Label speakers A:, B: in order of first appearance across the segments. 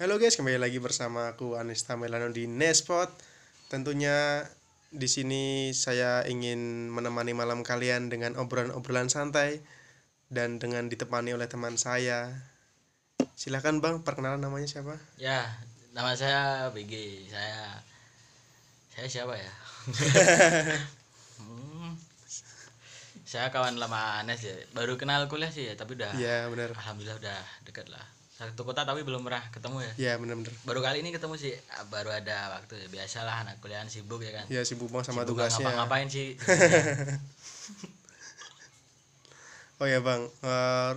A: Halo guys, kembali lagi bersama aku Anista Melano di Nespot. Tentunya di sini saya ingin menemani malam kalian dengan obrolan-obrolan santai dan dengan ditemani oleh teman saya. Silahkan Bang, perkenalan namanya siapa?
B: Ya, nama saya BG. Saya saya siapa ya? Hmm, saya kawan lama Anes ya. Baru kenal kuliah sih ya, tapi udah
A: Iya, benar.
B: alhamdulillah udah deket lah. Satu kota tapi belum pernah ketemu ya.
A: Iya, benar-benar.
B: Baru kali ini ketemu sih, ah, baru ada waktu ya. Biasalah anak kuliahan sibuk ya kan.
A: Ya sibuk banget sama
B: Sibuk nggak
A: tugasnya.
B: Ngapa-ngapain sih?
A: Oh ya Bang, eh,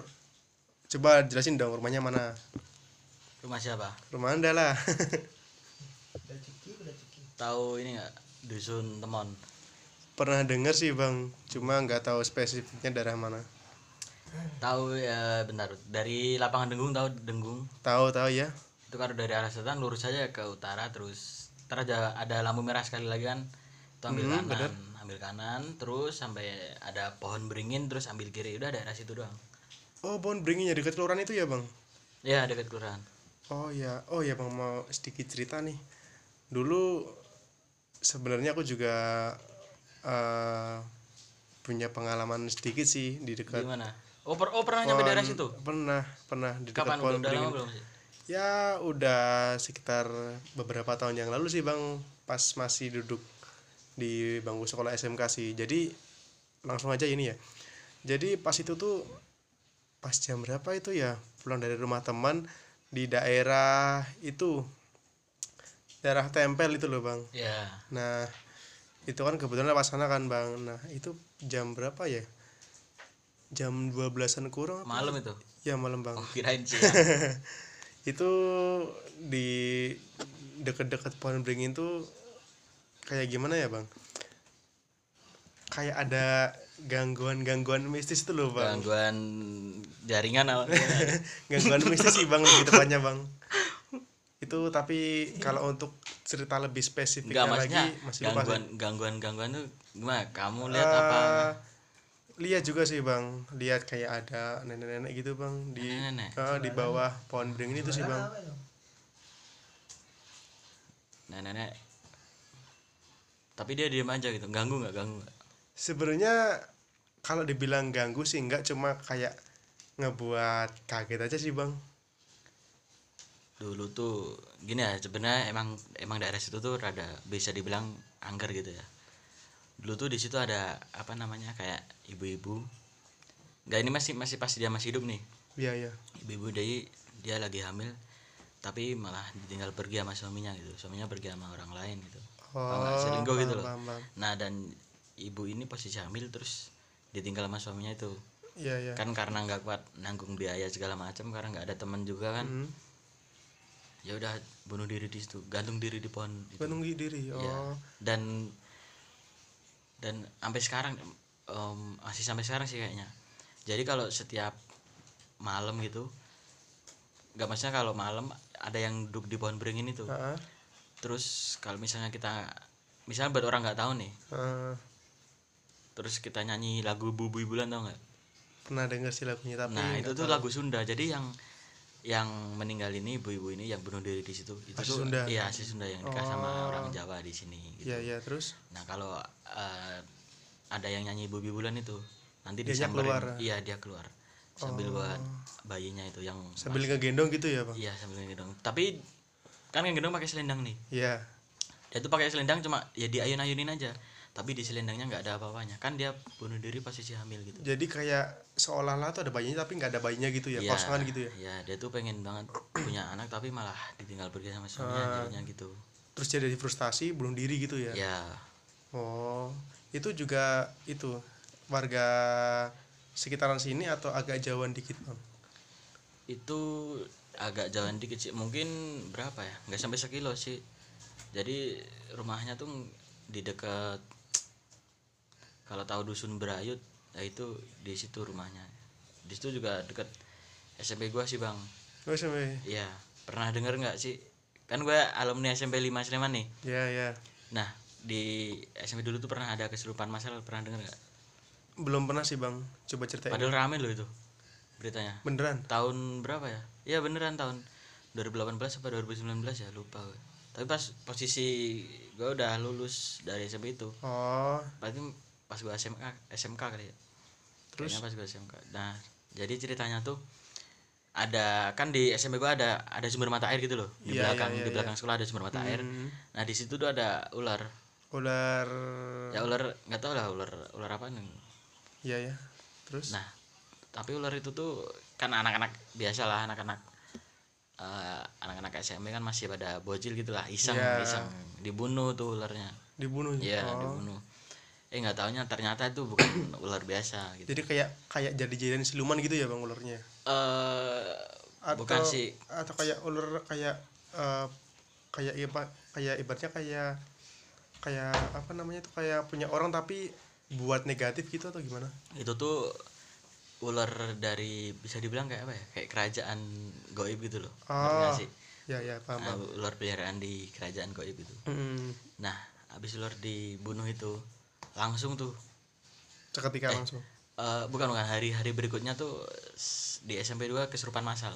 A: coba jelasin dong rumahnya mana.
B: Rumah siapa?
A: Rumah Anda lah.
B: Tahu ini enggak? Dusun Temon.
A: Pernah denger sih Bang, cuma nggak tahu spesifiknya daerah mana.
B: Tahu ya bentar. Dari lapangan Denggung tahu Denggung?
A: Tahu-tahu ya.
B: itu kan dari arah selatan lurus saja ke utara terus ntar ada ada lampu merah sekali lagi kan itu ambil
A: Hmm,
B: kanan ambil kanan terus sampai ada pohon beringin terus ambil kiri udah daerah situ doang
A: Oh, Bon Bringinya dekat kelurahan itu ya, Bang?
B: ya dekat kelurahan
A: Oh ya, oh ya Bang mau sedikit cerita nih. Dulu sebenarnya aku juga eh punya pengalaman sedikit sih di dekat
B: gimana oh, per- oh pernah nyampe daerah situ
A: pernah pernah di dekat
B: kapan
A: pohon
B: udah, udah lama
A: beringin.
B: belum sih
A: Ya udah sekitar beberapa tahun yang lalu sih Bang, pas masih duduk di bangku sekolah SMK sih. Jadi langsung aja ini ya. Jadi pas itu tuh pas jam berapa itu ya pulang dari rumah teman di daerah itu daerah tempel itu loh bang
B: ya
A: nah itu kan kebetulan lewat sana kan bang nah itu jam berapa ya jam 12an kurang apa?
B: malam itu
A: ya malam bang
B: oh, kirain siang
A: itu di deket-deket pohon beringin tuh kayak gimana ya bang kayak ada gangguan-gangguan mistis itu loh bang
B: gangguan jaringan apa
A: Iya. gangguan mistis sih bang lebih tepatnya bang itu tapi kalau untuk cerita lebih
B: enggak
A: spesifiknya
B: maksudnya
A: lagi masih lupa
B: gangguan
A: sih.
B: gangguan gangguan tuh gimana kamu lihat apa
A: Eh, lihat juga sih bang lihat kayak ada nenek-nenek gitu bang di
B: Nenek-nenek?
A: eh, di bawah pohon beringin itu sih bang
B: nenek tapi dia diem aja gitu ganggu nggak ganggu nggak?
A: sebenarnya kalau dibilang ganggu sih enggak cuma kayak ngebuat kaget aja sih bang
B: dulu tuh gini ya sebenarnya emang emang daerah situ tuh rada bisa dibilang angker gitu ya dulu tuh di situ ada apa namanya kayak ibu-ibu nggak ini masih masih pas dia masih hidup nih
A: iya iya
B: ibu-ibu dari dia lagi hamil tapi malah ditinggal pergi sama suaminya gitu suaminya pergi sama orang lain gitu Tau nggak? selingkuh gitu
A: paham,
B: loh
A: Oh, paham, paham.
B: nah dan ibu ini posisi hamil terus ditinggal sama suaminya itu
A: iya iya
B: kan karena nggak kuat nanggung biaya segala macam karena nggak ada teman juga kan
A: Hmm.
B: ya udah bunuh diri di situ gantung diri di pohon itu.
A: Gantung diri oh
B: Ya. dan dan sampai sekarang em, masih sampai sekarang sih kayaknya jadi kalau setiap malam gitu nggak maksudnya kalau malam ada yang duduk di pohon beringin itu
A: Heeh.
B: terus kalau misalnya kita misalnya buat orang nggak tahu nih
A: Heeh.
B: terus kita nyanyi lagu bubui bulan tau nggak
A: pernah denger sih lagunya tapi
B: nah itu
A: Iya, nggak
B: tuh
A: tahu.
B: lagu Sunda jadi yang yang meninggal ini ibu-ibu ini yang bunuh diri di situ itu
A: Asli
B: tuh-
A: Sunda.
B: iya asli Sunda yang nikah sama
A: Oh.
B: orang Jawa di sini gitu.
A: iya iya terus
B: nah kalau eh, ada yang nyanyi Bobi Bulan itu nanti
A: Dianya
B: disamperin.
A: keluar. Oh.
B: iya dia keluar sambil buat bayinya itu yang
A: sambil ngegendong gitu ya bang
B: iya sambil gendong tapi kan yang gendong pakai selendang nih
A: iya
B: dia tuh pakai selendang cuma ya diayun-ayunin aja tapi di selendangnya nggak ada apa-apanya kan dia bunuh diri posisi hamil gitu
A: jadi kayak seolah-olah tuh ada bayinya tapi nggak ada bayinya gitu ya
B: Iya,
A: kosongan gitu ya
B: Iya, dia tuh pengen banget punya anak tapi malah ditinggal pergi sama suaminya
A: Ah.
B: jadinya gitu.
A: terus jadi frustasi bunuh diri gitu ya
B: Ya,
A: oh itu juga itu warga sekitaran sini atau agak jauhan dikit bang
B: itu agak jalan dikit sih. Mungkin berapa ya? Nggak sampai sekilo sih. Jadi rumahnya tuh di dekat kalau tahu dusun Berayut, ya itu di situ rumahnya. Di situ juga deket SMP gua sih, Bang.
A: oh sampai
B: Iya, pernah denger nggak sih? Kan gua alumni SMP 5 Sleman nih.
A: ya ya
B: Nah, di SMP dulu tuh pernah ada kesurupan masal, pernah denger nggak?
A: belum pernah sih bang coba ceritain
B: Padahal rame loh itu beritanya.
A: beneran
B: Tahun berapa ya? Iya beneran tahun 2018 apa 2019 ya lupa gue. tapi pas posisi gue udah lulus dari SMP itu
A: oh
B: berarti pas gue SMK SMK kali ya
A: Terus?
B: Kayaknya pas gue SMK nah jadi ceritanya tuh ada kan di SMP gue ada ada sumber mata air gitu loh di
A: Iya, iya,
B: belakang
A: iya,
B: di belakang sekolah ada sumber mata air
A: Hmm.
B: nah di situ tuh ada ular
A: ular
B: ya ular nggak tau lah ular ular apa nih
A: iya ya terus
B: Nah, tapi ular itu tuh kan anak-anak biasalah anak-anak eh, anak-anak SMP kan masih pada bocil gitu lah, iseng,
A: Iya.
B: iseng dibunuh tuh ularnya.
A: dibunuh
B: Iya,
A: Oh.
B: dibunuh. Eh nggak taunya ternyata itu bukan ular biasa gitu.
A: jadi kayak kayak jadi jadian siluman gitu ya bang ularnya
B: Eh bukan sih.
A: atau kayak ular kayak eh, kayak iba, kayak ibaratnya kayak kayak apa namanya tuh kayak punya orang tapi buat negatif gitu atau gimana
B: Itu tuh ular dari bisa dibilang kayak apa ya? Kayak kerajaan goib gitu loh. Ngerti nggak
A: oh
B: sih?
A: ya ya paham Hmm.
B: Nah,
A: Bang.
B: ular peliharaan di kerajaan goib gitu. itu.
A: Mm-mm.
B: Nah, habis ular dibunuh itu langsung tuh
A: seketika langsung
B: Eh, bukan bukan hari-hari berikutnya tuh s- di SMP 2 kesurupan massal.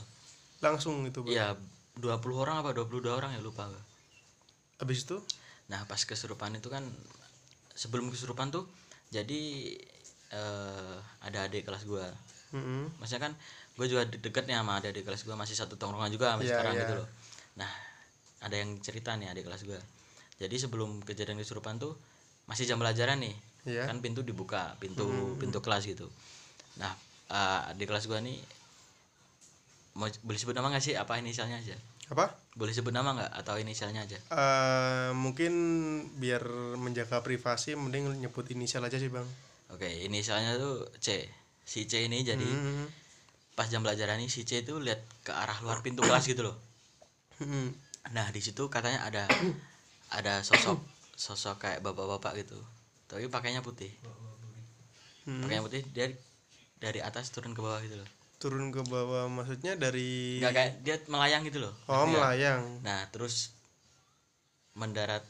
A: langsung gitu, itu Bang.
B: Iya, 20 orang apa 22 orang ya lupa gue.
A: habis itu
B: Nah, pas kesurupan itu kan sebelum kesurupan tuh jadi eh ada adik kelas gua.
A: mm-mm.
B: Maksudnya kan gue juga de- deket nih sama adik kelas gua masih satu tongkrongan juga sampai
A: Iya,
B: sekarang
A: iya.
B: gitu loh. Nah, ada yang cerita nih adik kelas gua. Jadi sebelum kejadian kesurupan tuh masih jam pelajaran nih.
A: Iya. Hmm.
B: kan pintu dibuka pintu pintu kelas gitu nah eh, di kelas gua nih mau boleh sebut nama nggak sih apa inisialnya aja
A: apa
B: boleh sebut nama nggak atau inisialnya aja
A: Eh, mungkin biar menjaga privasi mending nyebut inisial aja sih bang
B: oke inisialnya tuh C si C ini jadi
A: Mm-mm.
B: pas jam pelajaran nih si C itu lihat ke arah luar pintu kelas gitu loh
A: Mm-mm.
B: nah di situ katanya ada ada sosok sosok kayak bapak-bapak gitu tapi pakainya putih
A: Mm.
B: pakainya putih dia dari atas turun ke bawah gitu loh
A: turun ke bawah maksudnya dari
B: nggak kayak dia melayang gitu loh
A: Iya. oh
B: Ngerti nggak?
A: melayang
B: Nah, terus mendarat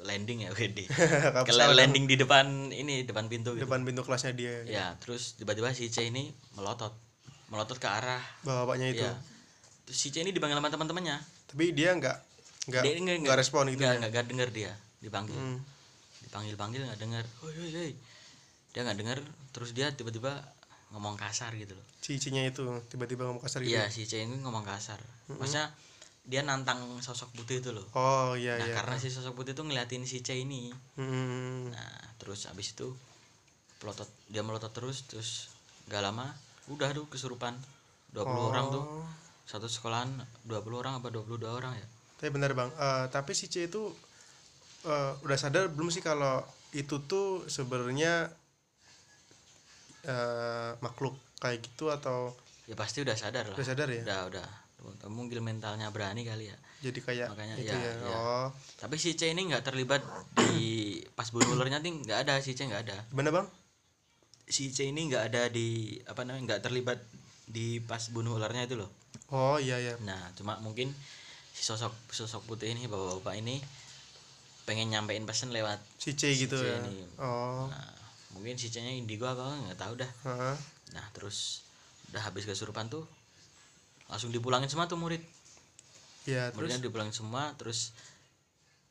B: landing ya WD.
A: Kapsal
B: Ke
A: kan.
B: landing di depan ini, depan pintu gitu.
A: depan pintu kelasnya dia
B: Ya, terus tiba-tiba si C ini melotot. Melotot ke arah
A: bapaknya itu
B: ya. Terus si C ini dipanggil sama teman-temannya.
A: tapi dia nggak nggak
B: Dia nggak-
A: nggak respon gitu
B: nggak-
A: ya
B: nggak- nggak denger dia dipanggil.
A: Hmm.
B: Dipanggil-panggil nggak denger. Hoi, hoi, hoi. Dia nggak denger, terus dia tiba-tiba ngomong kasar gitu loh.
A: cicinya itu tiba-tiba ngomong kasar gitu Hmm.
B: Iya, si C ini ngomong kasar. Maksudnya dia nantang sosok putih itu loh.
A: oh iya
B: Nah,
A: iya
B: karena si sosok putih itu ngeliatin si C ini.
A: Hmm.
B: Nah, terus abis itu pelotot dia melotot terus terus gak lama udah tuh kesurupan 20 orang tuh
A: Oh.
B: satu sekolahan 20 orang apa 22 orang ya
A: tapi benar bang Eh, tapi si C itu eh, udah sadar belum sih kalau itu tuh sebenarnya eh, makhluk kayak gitu atau
B: ya pasti udah sadar lah
A: udah sadar ya
B: udah udah mungkin mentalnya berani kali ya
A: jadi kayak
B: Makanya,
A: itu
B: iya,
A: ya,
B: iya.
A: oh
B: tapi si C ini nggak terlibat di pas bunuh ularnya nih nggak ada si C nggak ada
A: gimana bang
B: si C ini nggak ada di apa namanya nggak terlibat di pas bunuh ularnya itu loh
A: oh iya iya
B: Nah, cuma mungkin si sosok sosok putih ini bapak-bapak ini pengen nyampein pesan lewat.
A: si C gitu
B: C
A: ya
B: ini.
A: oh
B: Nah, mungkin si C-nya indigo apa nggak tahu dah.
A: Heeh.
B: Nah, terus udah habis kesurupan tuh langsung dipulangin semua tuh murid.
A: ya terus
B: Muridnya dipulangin semua terus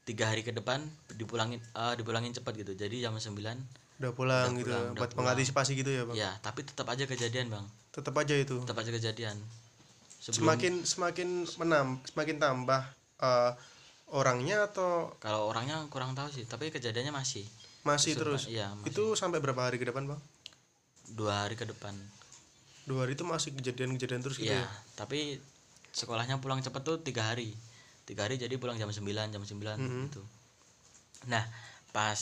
B: tiga hari ke depan dipulangin eh, dipulangin cepat gitu. Jadi jam 9
A: udah pulang
B: Udah
A: gitu
B: pulang, udah
A: buat
B: pulang.
A: mengantisipasi gitu ya bang
B: ya, tapi tetap aja kejadian, Bang.
A: tetap aja itu
B: Tetap aja kejadian. Sebelum
A: semakin semakin menam semakin tambah eh, orangnya atau
B: kalau orangnya kurang tahu sih, tapi kejadiannya masih
A: masih
B: Kesurupan,
A: terus
B: iya, masih.
A: itu sampai berapa hari ke depan bang
B: dua hari ke depan
A: dua hari itu masih kejadian-kejadian terus gitu
B: Iya,
A: ya
B: tapi sekolahnya pulang cepet tuh tiga hari, tiga hari jadi pulang jam 9 jam 9
A: Mm-hmm.
B: gitu. Nah, pas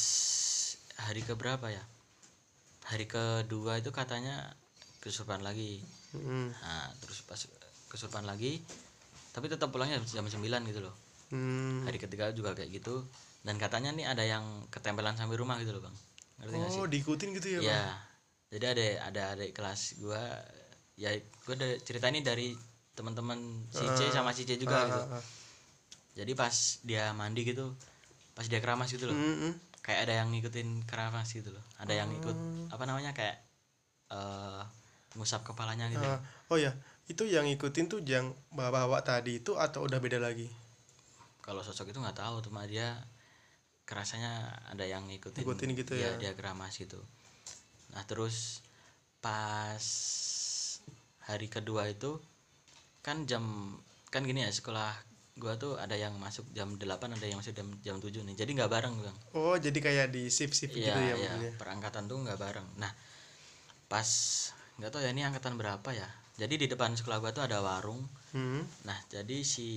B: hari ke berapa ya? Hari kedua itu katanya kesurupan lagi.
A: Mm-mm.
B: Nah, terus pas kesurupan lagi, tapi tetap pulangnya jam 9 gitu loh.
A: Hmm.
B: Hari ketiga juga kayak gitu. Dan katanya nih ada yang ketempelan sampai rumah gitu loh bang. Ngerti nggak sih?
A: oh diikutin gitu ya bang
B: Iya. Jadi ada ada adik kelas gua ya gua dari, cerita ini dari teman-teman si C sama si C juga gitu.
A: ah, ah.
B: Jadi pas dia mandi gitu, pas dia keramas gitu loh.
A: Mm-mm.
B: Kayak ada yang ngikutin keramas gitu loh.
A: Oh.
B: Ada yang ikut apa namanya kayak eh ngusap kepalanya gitu.
A: Ah, oh ya itu yang ngikutin tuh yang bawa-bawa tadi itu atau udah beda lagi
B: kalau sosok itu nggak tahu cuma dia kerasanya ada yang ngikutin,
A: Ngikutin gitu
B: dia,
A: ya.
B: dia keramas gitu nah terus pas hari kedua itu kan jam kan gini ya sekolah gua tuh ada yang masuk jam 8 ada yang masuk jam jam 7 nih jadi nggak bareng bang
A: oh jadi kayak di shift shift
B: Iya,
A: gitu ya
B: iya,
A: maksudnya
B: perangkatan tuh nggak bareng. Nah, pas nggak tahu ya ini angkatan berapa ya. Jadi di depan sekolah gua tuh ada warung.
A: hmm.
B: Nah, jadi si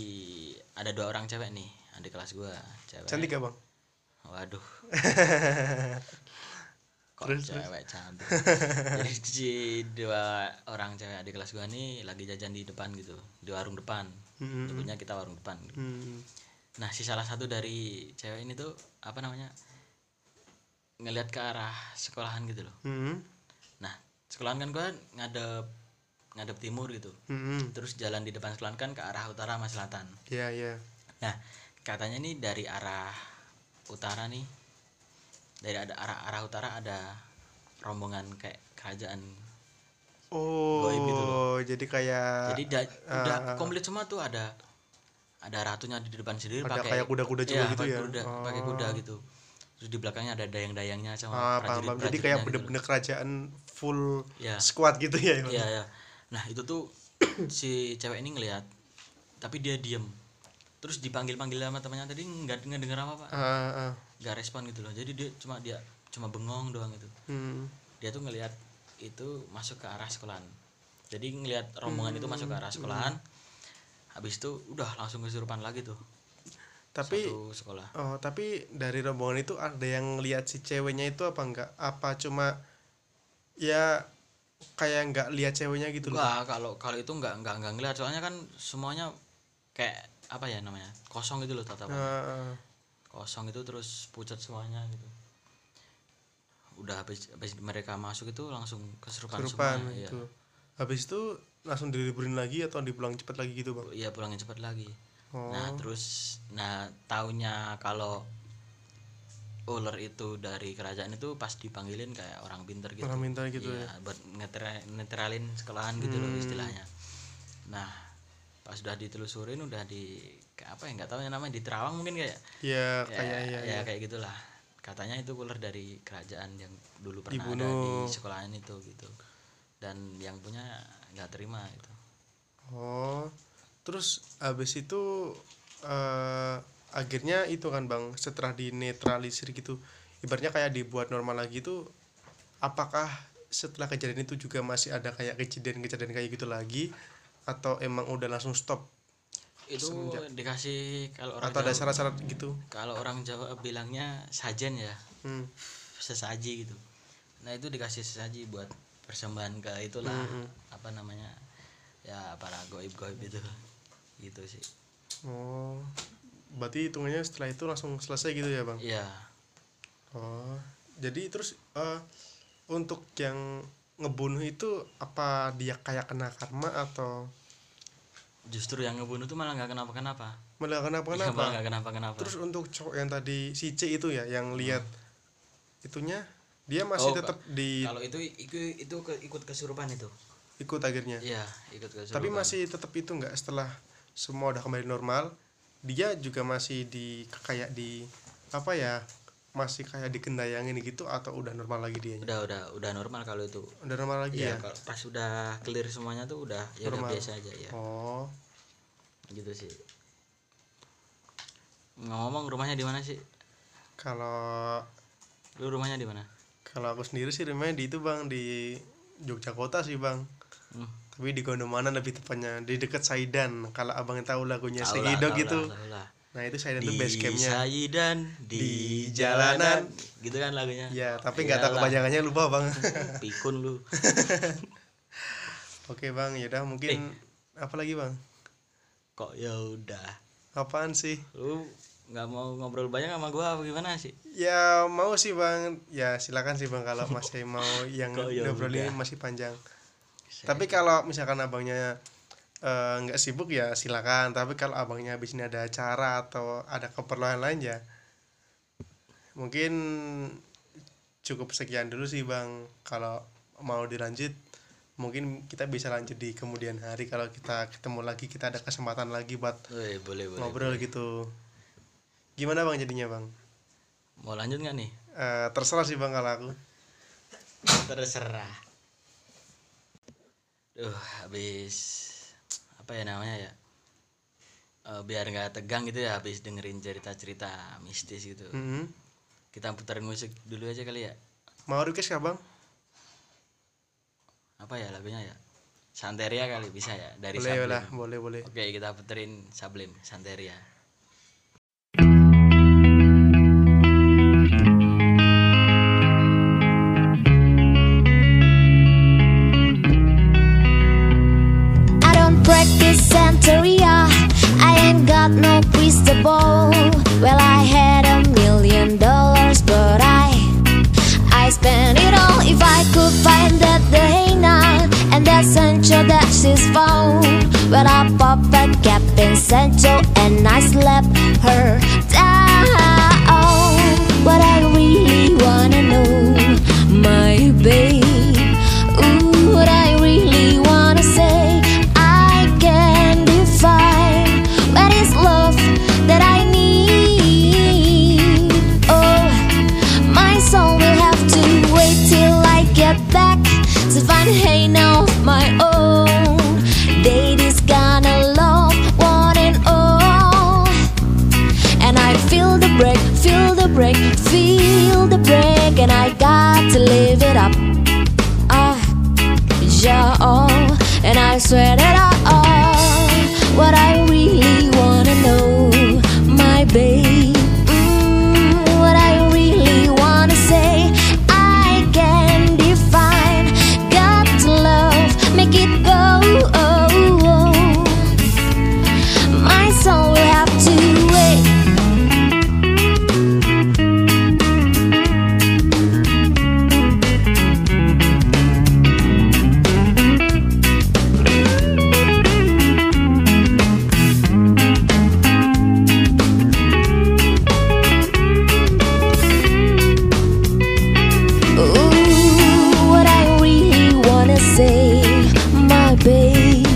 B: ada dua orang cewek nih, adik kelas gua, cewek.
A: cantik gak bang
B: Waduh. Kok
A: Terus, terus.
B: cewek cantik. jadi si dua orang cewek adik kelas gua nih lagi jajan di depan gitu, di warung depan.
A: Hmm.
B: Nyebutnya kita warung depan.
A: Hmm.
B: Nah, si salah satu dari cewek ini tuh apa namanya? ngelihat ke arah sekolahan gitu loh.
A: Hmm.
B: Nah, sekolahan kan gua ngadep ngadep timur gitu.
A: Hmm.
B: Terus jalan di depan sekolahan kan ke arah utara sama selatan.
A: ya ya
B: Nah, katanya nih dari arah utara nih dari ada arah arah utara ada rombongan kayak kerajaan.
A: oh
B: Goib gitu
A: jadi kayak
B: Jadi da- udah
A: ah, ah.
B: komplit semua tuh ada ada ratunya di depan sendiri
A: Ada
B: pakai
A: kayak kuda-kuda juga
B: Iya,
A: gitu
B: pakai
A: ya?
B: kuda, pakai
A: Oh.
B: kuda gitu. Terus di belakangnya ada dayang-dayangnya sama
A: ah, paham, paham. jadi kayak
B: prajurit-prajuritnya gitu loh.
A: bener-bener kerajaan full
B: Iya.
A: squad gitu ya Bang?
B: Iya ya. Nah itu tuh si cewek ini ngelihat, tapi dia diem. Terus dipanggil panggil sama temannya tadi nggak denger denger apa pak,
A: Ah, ah.
B: nggak respon gitu loh. Jadi dia cuma dia cuma bengong doang gitu.
A: Hmm.
B: Dia tuh ngelihat itu masuk ke arah sekolahan. Jadi ngelihat rombongan itu masuk ke
A: Hmm,
B: arah sekolahan. Habis itu udah langsung kesurupan lagi tuh
A: tapi
B: satu sekolah.
A: Oh, tapi dari rombongan itu ada yang lihat si ceweknya itu apa enggak? Apa cuma ya kayak enggak lihat ceweknya gitu loh.
B: Wah kalau kalau itu nggak nggak nggak ngelihat soalnya kan semuanya kayak apa ya namanya kosong gitu loh tatapan.
A: Heeh.
B: kosong itu terus pucat semuanya gitu udah habis habis mereka masuk itu langsung keserupan
A: kesurupan
B: semua iya.
A: gitu. Habis itu langsung diliburin lagi atau dipulang cepat lagi gitu, Bang.
B: iya pulangin cepat lagi
A: Oh.
B: nah terus nah taunya kalau ular itu dari kerajaan itu pas dipanggilin kayak orang pinter gitu
A: Orang minta gitu Hmm.
B: Iya, buat ngetera- netralin sekolahan gitu loh istilahnya nah pas udah ditelusurin udah di ke apa ya nggak tahu ya namanya di Terawang mungkin kayak
A: ya. Ya
B: ya,
A: kayak ya,
B: ya, kayak gitulah katanya itu ular dari kerajaan yang dulu pernah ada
A: Dibunuh.
B: di sekolahan itu gitu dan yang punya nggak terima gitu. itu
A: Oh. Terus habis itu eh akhirnya itu kan, Bang, setelah dinetralisir gitu, ibaratnya kayak dibuat normal lagi itu apakah setelah kejadian itu juga masih ada kayak kejadian-kejadian kayak gitu lagi atau emang udah langsung stop
B: itu dikasih kalau orang
A: atau ada
B: Jawa-
A: syarat-syarat gitu
B: kalau orang Jawa bilangnya sajen ya
A: hmm.
B: sesaji gitu nah itu dikasih sesaji buat persembahan ke itulah apa namanya ya para goib-goib itu gitu sih
A: oh berarti hitungannya setelah itu langsung selesai gitu ya bang
B: iya
A: oh jadi terus eh, untuk yang ngebunuh itu apa dia kayak kena karma atau
B: justru yang ngebunuh tuh malah nggak kenapa-kenapa
A: malah kenapa
B: Iya,
A: kenapa
B: malah nggak kenapa-kenapa
A: terus untuk cowok yang tadi si C itu ya yang lihat itunya dia masih
B: Hmm. Oh,
A: tetap di
B: kalau itu itu itu ke- ikut kesurupan itu
A: ikut akhirnya
B: iya ikut kesurupan
A: tapi masih tetap itu nggak setelah semua udah kembali normal dia juga masih di kayak di apa ya masih kayak dikendayangin gitu atau udah normal lagi dia
B: udah udah udah normal kalau itu
A: udah normal lagi ya
B: Iya, kalau pas udah clear semuanya tuh udah ya udah
A: Normal.
B: biasa aja ya
A: oh
B: gitu sih ngomong rumahnya di mana sih
A: kalau
B: lu rumahnya di mana
A: kalau aku sendiri sih rumahnya di itu bang di Jogja kota sih bang
B: hmm.
A: tapi di Gondomanan lebih tepatnya di dekat Saidan kalau abang tahu lagunya
B: Tau lah,
A: Segidok
B: tau
A: gitu
B: lah, tau lah.
A: nah itu Saidan
B: di
A: itu base campnya
B: Saidan di,
A: Di
B: jalanan gitu kan lagunya
A: ya tapi nggak tahu
B: Iyalah,
A: kepanjangannya lupa bang
B: pikun lu
A: oke bang yaudah
B: Eh.
A: mungkin apa lagi bang
B: kok ya udah
A: apaan sih
B: lu nggak mau ngobrol banyak sama gua apa gimana sih
A: Ya mau sih bang, ya silakan sih bang kalau masih mau yang
B: Kok ya
A: ngobrolin
B: udah.
A: masih panjang.
B: Saya-
A: Tapi kalau misalkan abangnya eh, nggak sibuk ya silakan. Tapi kalau abangnya habis ini ada acara atau ada keperluan lain ya, mungkin cukup sekian dulu sih bang. Kalau mau dilanjut mungkin kita bisa lanjut di kemudian hari kalau kita ketemu lagi kita ada kesempatan lagi buat
B: Woi, boleh boleh.
A: ngobrol gitu gimana bang jadinya bang
B: Mau lanjut nggak nih?
A: Eh, terserah sih bang kalau aku
B: Terserah. Duh, habis apa ya namanya ya? Eh, biar nggak tegang gitu ya habis dengerin cerita-cerita mistis gitu.
A: Mhm.
B: Kita putar musik dulu aja kali ya.
A: mau request kah bang
B: Apa ya lagunya ya? Santeria kali bisa ya dari
A: boleh
B: Sablim.
A: lah boleh boleh
B: Oke, kita puterin Sablim Santeria.
C: I don't practice Santeria. I ain't got no crystal ball. Well, I had a million dollars, but I I spent it all if I could find that the henna and that Sancho that she's found. Well, I pop a gap in Sancho and I slap her down. What I really wanna know, my babe. Ooh, what I really wanna say, I can define what is love that I need. Oh. My soul will have to wait till I get back to find Hannah of my own. Date is gonna love one and all. And I feel the break, feel the break, feel the break, and I got to live it up. Ah, yeah, oh, and I swear that I oh, what I really wanna know, my babe. Mm, what I really wanna say, I can define. Got to love, make it go. Oh, oh. My soul will have to wait. Ooh, what I really wanna say, my babe.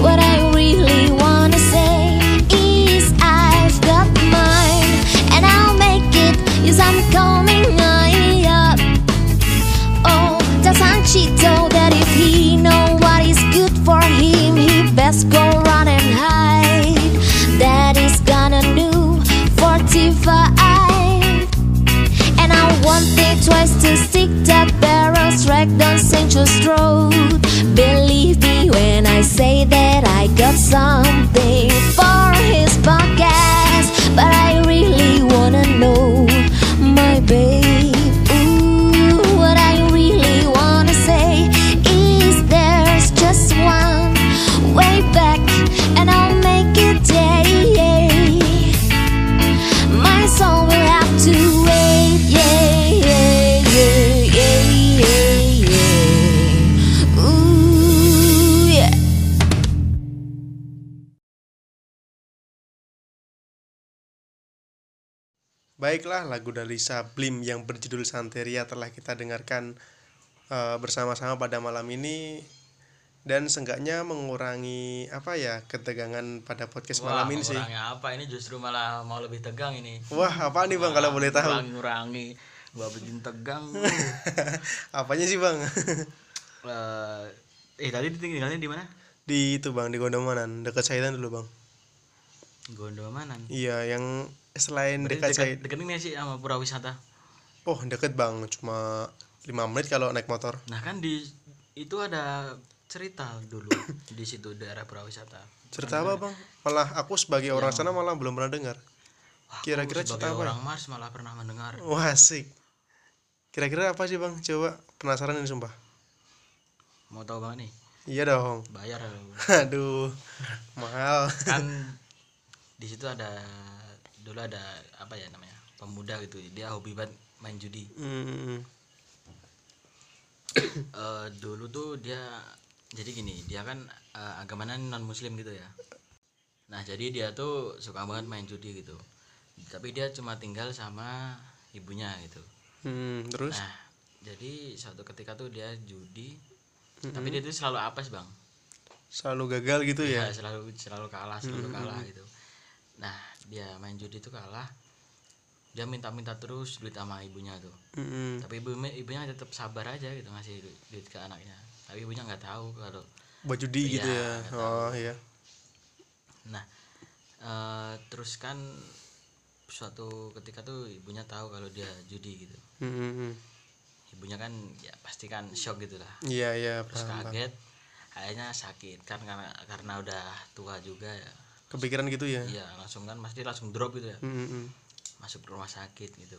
C: What I really wanna say is I've got mine, and I'll make it. Yes, I'm coming up. Oh, doesn't she know that if he know what is good for him, he best go run and hide. That is gonna do 45. And I want it twice to stick that barrel strike down Central Road. Believe me when I say that I got something for his podcast. But I really wanna know, my babe. Ooh, what I really wanna say is there's just one way back, and I'll make it, yeah, yeah. My soul will have to wait. Yeah, yeah, yeah, yeah, yeah, yeah. Ooh, yeah.
A: Baiklah, lagu dari Sablim yang berjudul Santeria telah kita dengarkan eh, bersama-sama pada malam ini dan seenggaknya mengurangi apa ya ketegangan pada podcast
B: Wah,
A: malam ini sih.
B: mengurangi apa ini justru malah mau lebih tegang ini.
A: Wah, apa nih Bang kalau boleh tahu?
B: Ngurangi, gua bikin tegang.
A: Apanya sih Bang?
B: Eh, eh tadi ditinggalnya di mana?
A: di itu Bang di Gondomanan, dekat Saidan dulu Bang.
B: Gondomanan.
A: Iya, yang selain
B: Berarti
A: dekat Said.
B: dekat ini sih sama pura wisata.
A: Oh, dekat Bang, cuma 5 menit kalau naik motor.
B: Nah kan di itu ada cerita dulu di situ daerah pura wisata.
A: Cerita apa Bang? Malah aku sebagai orang sana malah belum pernah dengar.
B: Wah, aku
A: Kira-kira cerita apa
B: sebagai
A: ya?
B: orang Mars malah pernah mendengar.
A: Wah asik. Kira-kira apa sih bang? Coba penasaran ini sumpah.
B: Mau tahu banget nih?
A: Iya dong.
B: Bayar
A: Aduh, mahal.
B: kan di situ ada dulu ada apa ya namanya? Pemuda gitu. Dia hobi banget main judi.
A: Hmm,
B: Eh, dulu tuh dia jadi gini dia kan eh, agamanya non muslim gitu ya nah jadi dia tuh suka banget main judi gitu tapi dia cuma tinggal sama ibunya gitu
A: hmm, terus?
B: nah jadi suatu ketika tuh dia judi tapi dia itu selalu apes bang
A: selalu gagal gitu ya
B: ya selalu selalu kalah selalu kalah gitu nah dia main judi itu kalah dia minta-minta terus duit sama ibunya tuh
A: Mm-mm.
B: tapi ibu ibunya tetap sabar aja gitu ngasih du- duit ke anaknya tapi ibunya nggak tahu kalau
A: buat judi gitu
B: Iya,
A: ya
B: nggak
A: oh iya
B: nah eh, terus kan suatu ketika tuh ibunya tahu kalau dia judi gitu
A: Mm-mm.
B: ibunya kan ya pasti kan shock gitu lah
A: iya iya
B: terus
A: paham, paham.
B: kaget akhirnya sakit kan karena karena udah tua juga ya
A: kepikiran gitu ya Hmm.
B: iya langsung kan pasti langsung drop gitu ya
A: Mm-mm.
B: masuk rumah sakit gitu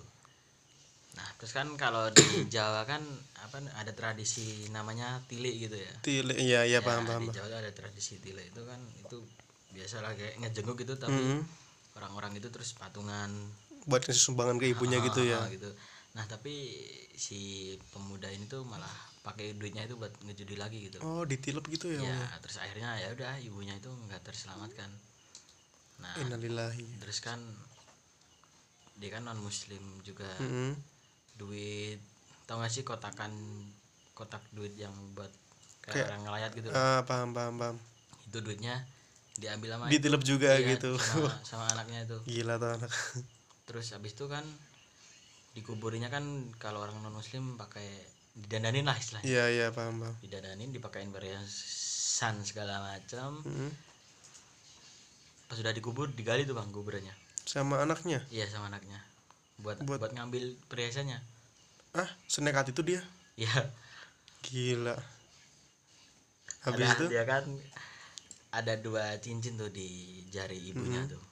B: nah terus kan kalau di Jawa kan apa ada tradisi namanya tilik gitu ya
A: Tilik, iya iya
B: Ya,
A: paham paham
B: di
A: paham.
B: Jawa tuh ada tradisi tilik itu kan itu biasalah kayak ngejenguk gitu tapi
A: Mm-mm.
B: orang-orang itu terus patungan
A: buat ngasih sumbangan ke ibunya gitu ya
B: ah, gitu nah tapi si pemuda ini tuh malah pakai duitnya itu buat ngejudi lagi gitu
A: oh ditilep gitu ya,
B: ya
A: ya.
B: terus akhirnya ya udah ibunya itu nggak terselamatkan nah
A: innalillahi
B: terus kan dia kan non muslim juga
A: Mm-mm.
B: duit tau gak sih kotakan kotak duit yang buat
A: Kayak-
B: kayak orang ngelayat gitu loh.
A: ah paham paham paham
B: itu duitnya diambil sama
A: ditilep juga
B: iya,
A: gitu
B: sama, sama anaknya itu
A: gila tuh anak
B: terus habis itu kan dikuburinya kan kalau orang non muslim pakai didandanin lah istilahnya
A: iya iya paham paham
B: didandanin dipakain perhiasan segala macam
A: Mm-mm.
B: pas sudah dikubur digali tuh bang kuburannya
A: sama anaknya
B: iya sama anaknya buat
A: Buat-
B: buat, ngambil perhiasannya
A: ah senekat itu dia
B: iya
A: gila habis
B: Ada-
A: itu
B: dia kan ada dua cincin tuh di jari ibunya
A: Mm-hmm.
B: tuh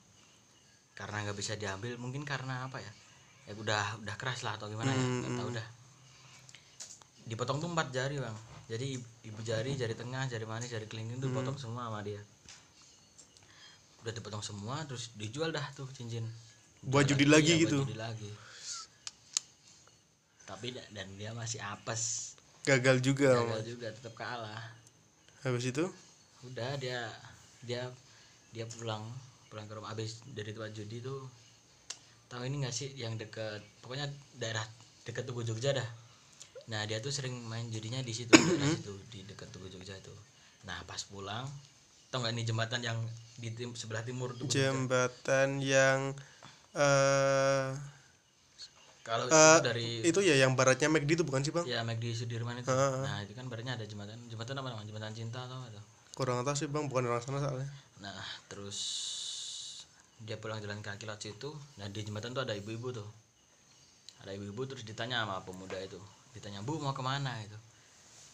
B: karena nggak bisa diambil mungkin karena apa ya ya udah udah keras lah atau gimana ya
A: Hmm,
B: nggak tahu dah dipotong tuh empat jari bang jadi i- ibu jari jari tengah jari manis jari kelingking tuh potong
A: Mm-hmm.
B: semua sama dia udah dipotong semua terus dijual dah tuh cincin
A: Buat
B: Jual
A: judi lagi
B: iya, buat
A: gitu?
B: judi lagi tapi da- dan dia masih apes
A: gagal juga
B: gagal juga tetap kalah
A: habis itu
B: udah dia dia dia pulang pulang ke rumah abis dari tempat judi tuh tahu ini nggak sih yang deket pokoknya daerah deket tugu Jogja dah nah dia tuh sering main judinya di situ di daerah situ di deket tugu Jogja tuh nah pas pulang tau nggak ini jembatan yang di tim, sebelah timur tuh
A: jembatan yang eh
B: kalau
A: eh,
B: itu dari
A: itu ya yang baratnya McD itu bukan sih bang
B: ya McD Sudirman itu
A: Ah, ah, ah.
B: nah itu kan barunya ada jembatan jembatan apa namanya jembatan cinta atau apa tuh
A: kurang tahu sih bang bukan orang sana soalnya
B: Nah, terus dia pulang jalan kaki lewat situ. Nah, di jembatan tuh ada ibu-ibu tuh. Ada ibu-ibu terus ditanya sama pemuda itu. Ditanya, "Bu, mau kemana?" gitu.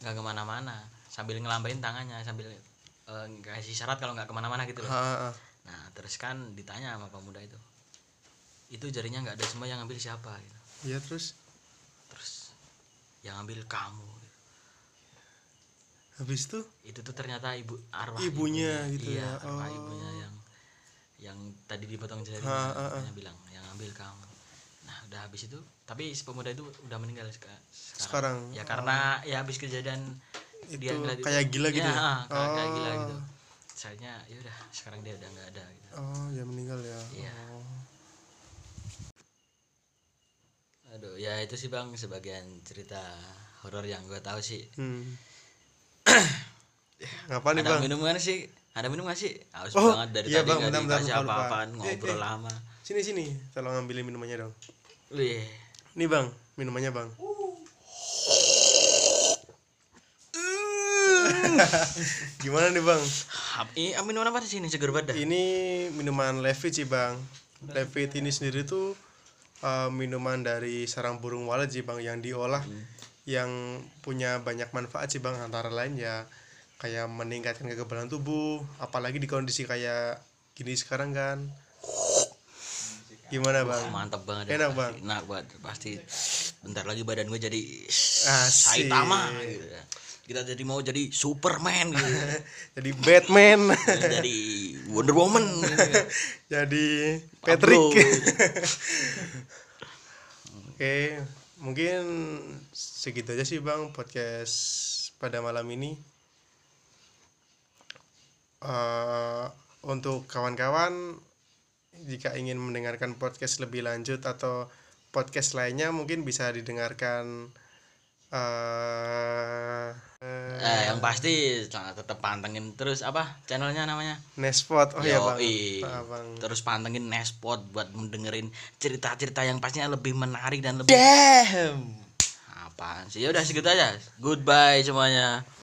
B: Nggak kemana-mana. Sambil ngelambain tangannya, sambil eh, ngasih syarat kalau nggak kemana-mana gitu loh.
A: Ah, ah, ah.
B: Nah, terus kan ditanya sama pemuda itu. Itu jarinya nggak ada semua yang ngambil siapa gitu.
A: iya terus
B: Terus yang ngambil kamu. gitu.
A: habis itu
B: itu tuh ternyata ibu arwah
A: Ibunya gitu
B: iya,
A: ya,
B: arwah
A: oh.
B: ibunya yang yang tadi dipotong jari
A: Ha, ha, ha.
B: ibunya bilang yang ambil kamu nah udah habis itu tapi si pemuda itu udah meninggal seka-
A: Sekarang, Oh.
B: sekarang, ya karena ya habis kejadian
A: Itu
B: ngeliat
A: kayak gila gitu
B: ya,
A: ya?
B: ha, kayak, kayak gila
A: Oh.
B: gitu sayangnya ya udah sekarang dia udah nggak ada gitu
A: oh ya meninggal ya
B: Iya.
A: Oh.
B: aduh ya itu sih bang sebagian cerita horor yang gue tahu sih
A: hmm. ngapa nih
B: ada
A: bang
B: minum kan sih ada minum gak sih haus
A: Oh,
B: banget dari
A: iya,
B: tadi
A: Bang,
B: nggak
A: bentar, bentar,
B: dikasih
A: lupa, lupa.
B: apa-apaan
A: Eh,
B: ngobrol
A: eh.
B: lama
A: sini sini tolong ngambilin minumannya dong
B: Wih.
A: nih bang minumannya bang gimana nih bang
B: Hap- Ini minuman apa di sini seger banget dah.
A: ini minuman Levit sih bang Levit ini sendiri tuh eh, minuman dari sarang burung walet sih bang yang diolah yang punya banyak manfaat sih bang antara lain ya kayak meningkatkan kekebalan tubuh apalagi di kondisi kayak gini sekarang kan gimana bang
B: Mantap banget.
A: Enak
B: pasti.
A: banget.
B: Enak banget. Pasti bentar lagi badan gue jadi
A: Asik.
B: Saitama gitu. Kita jadi mau jadi Superman gitu.
A: jadi Batman
B: jadi Wonder Woman. Gitu.
A: jadi
B: Pablo.
A: Patrick Oke, mungkin segitu aja sih Bang podcast pada malam ini. Eh, untuk kawan-kawan jika ingin mendengarkan podcast lebih lanjut atau podcast lainnya mungkin bisa didengarkan eh
B: Eh, yang pasti nah, tetap pantengin terus apa channelnya namanya
A: Nespot oh ya bang
B: Yoi.
A: Ah, bang
B: terus pantengin Nespot buat mendengerin cerita-cerita yang pastinya lebih menarik dan lebih
D: Damn.
B: apaan sih ya udah segitu aja goodbye semuanya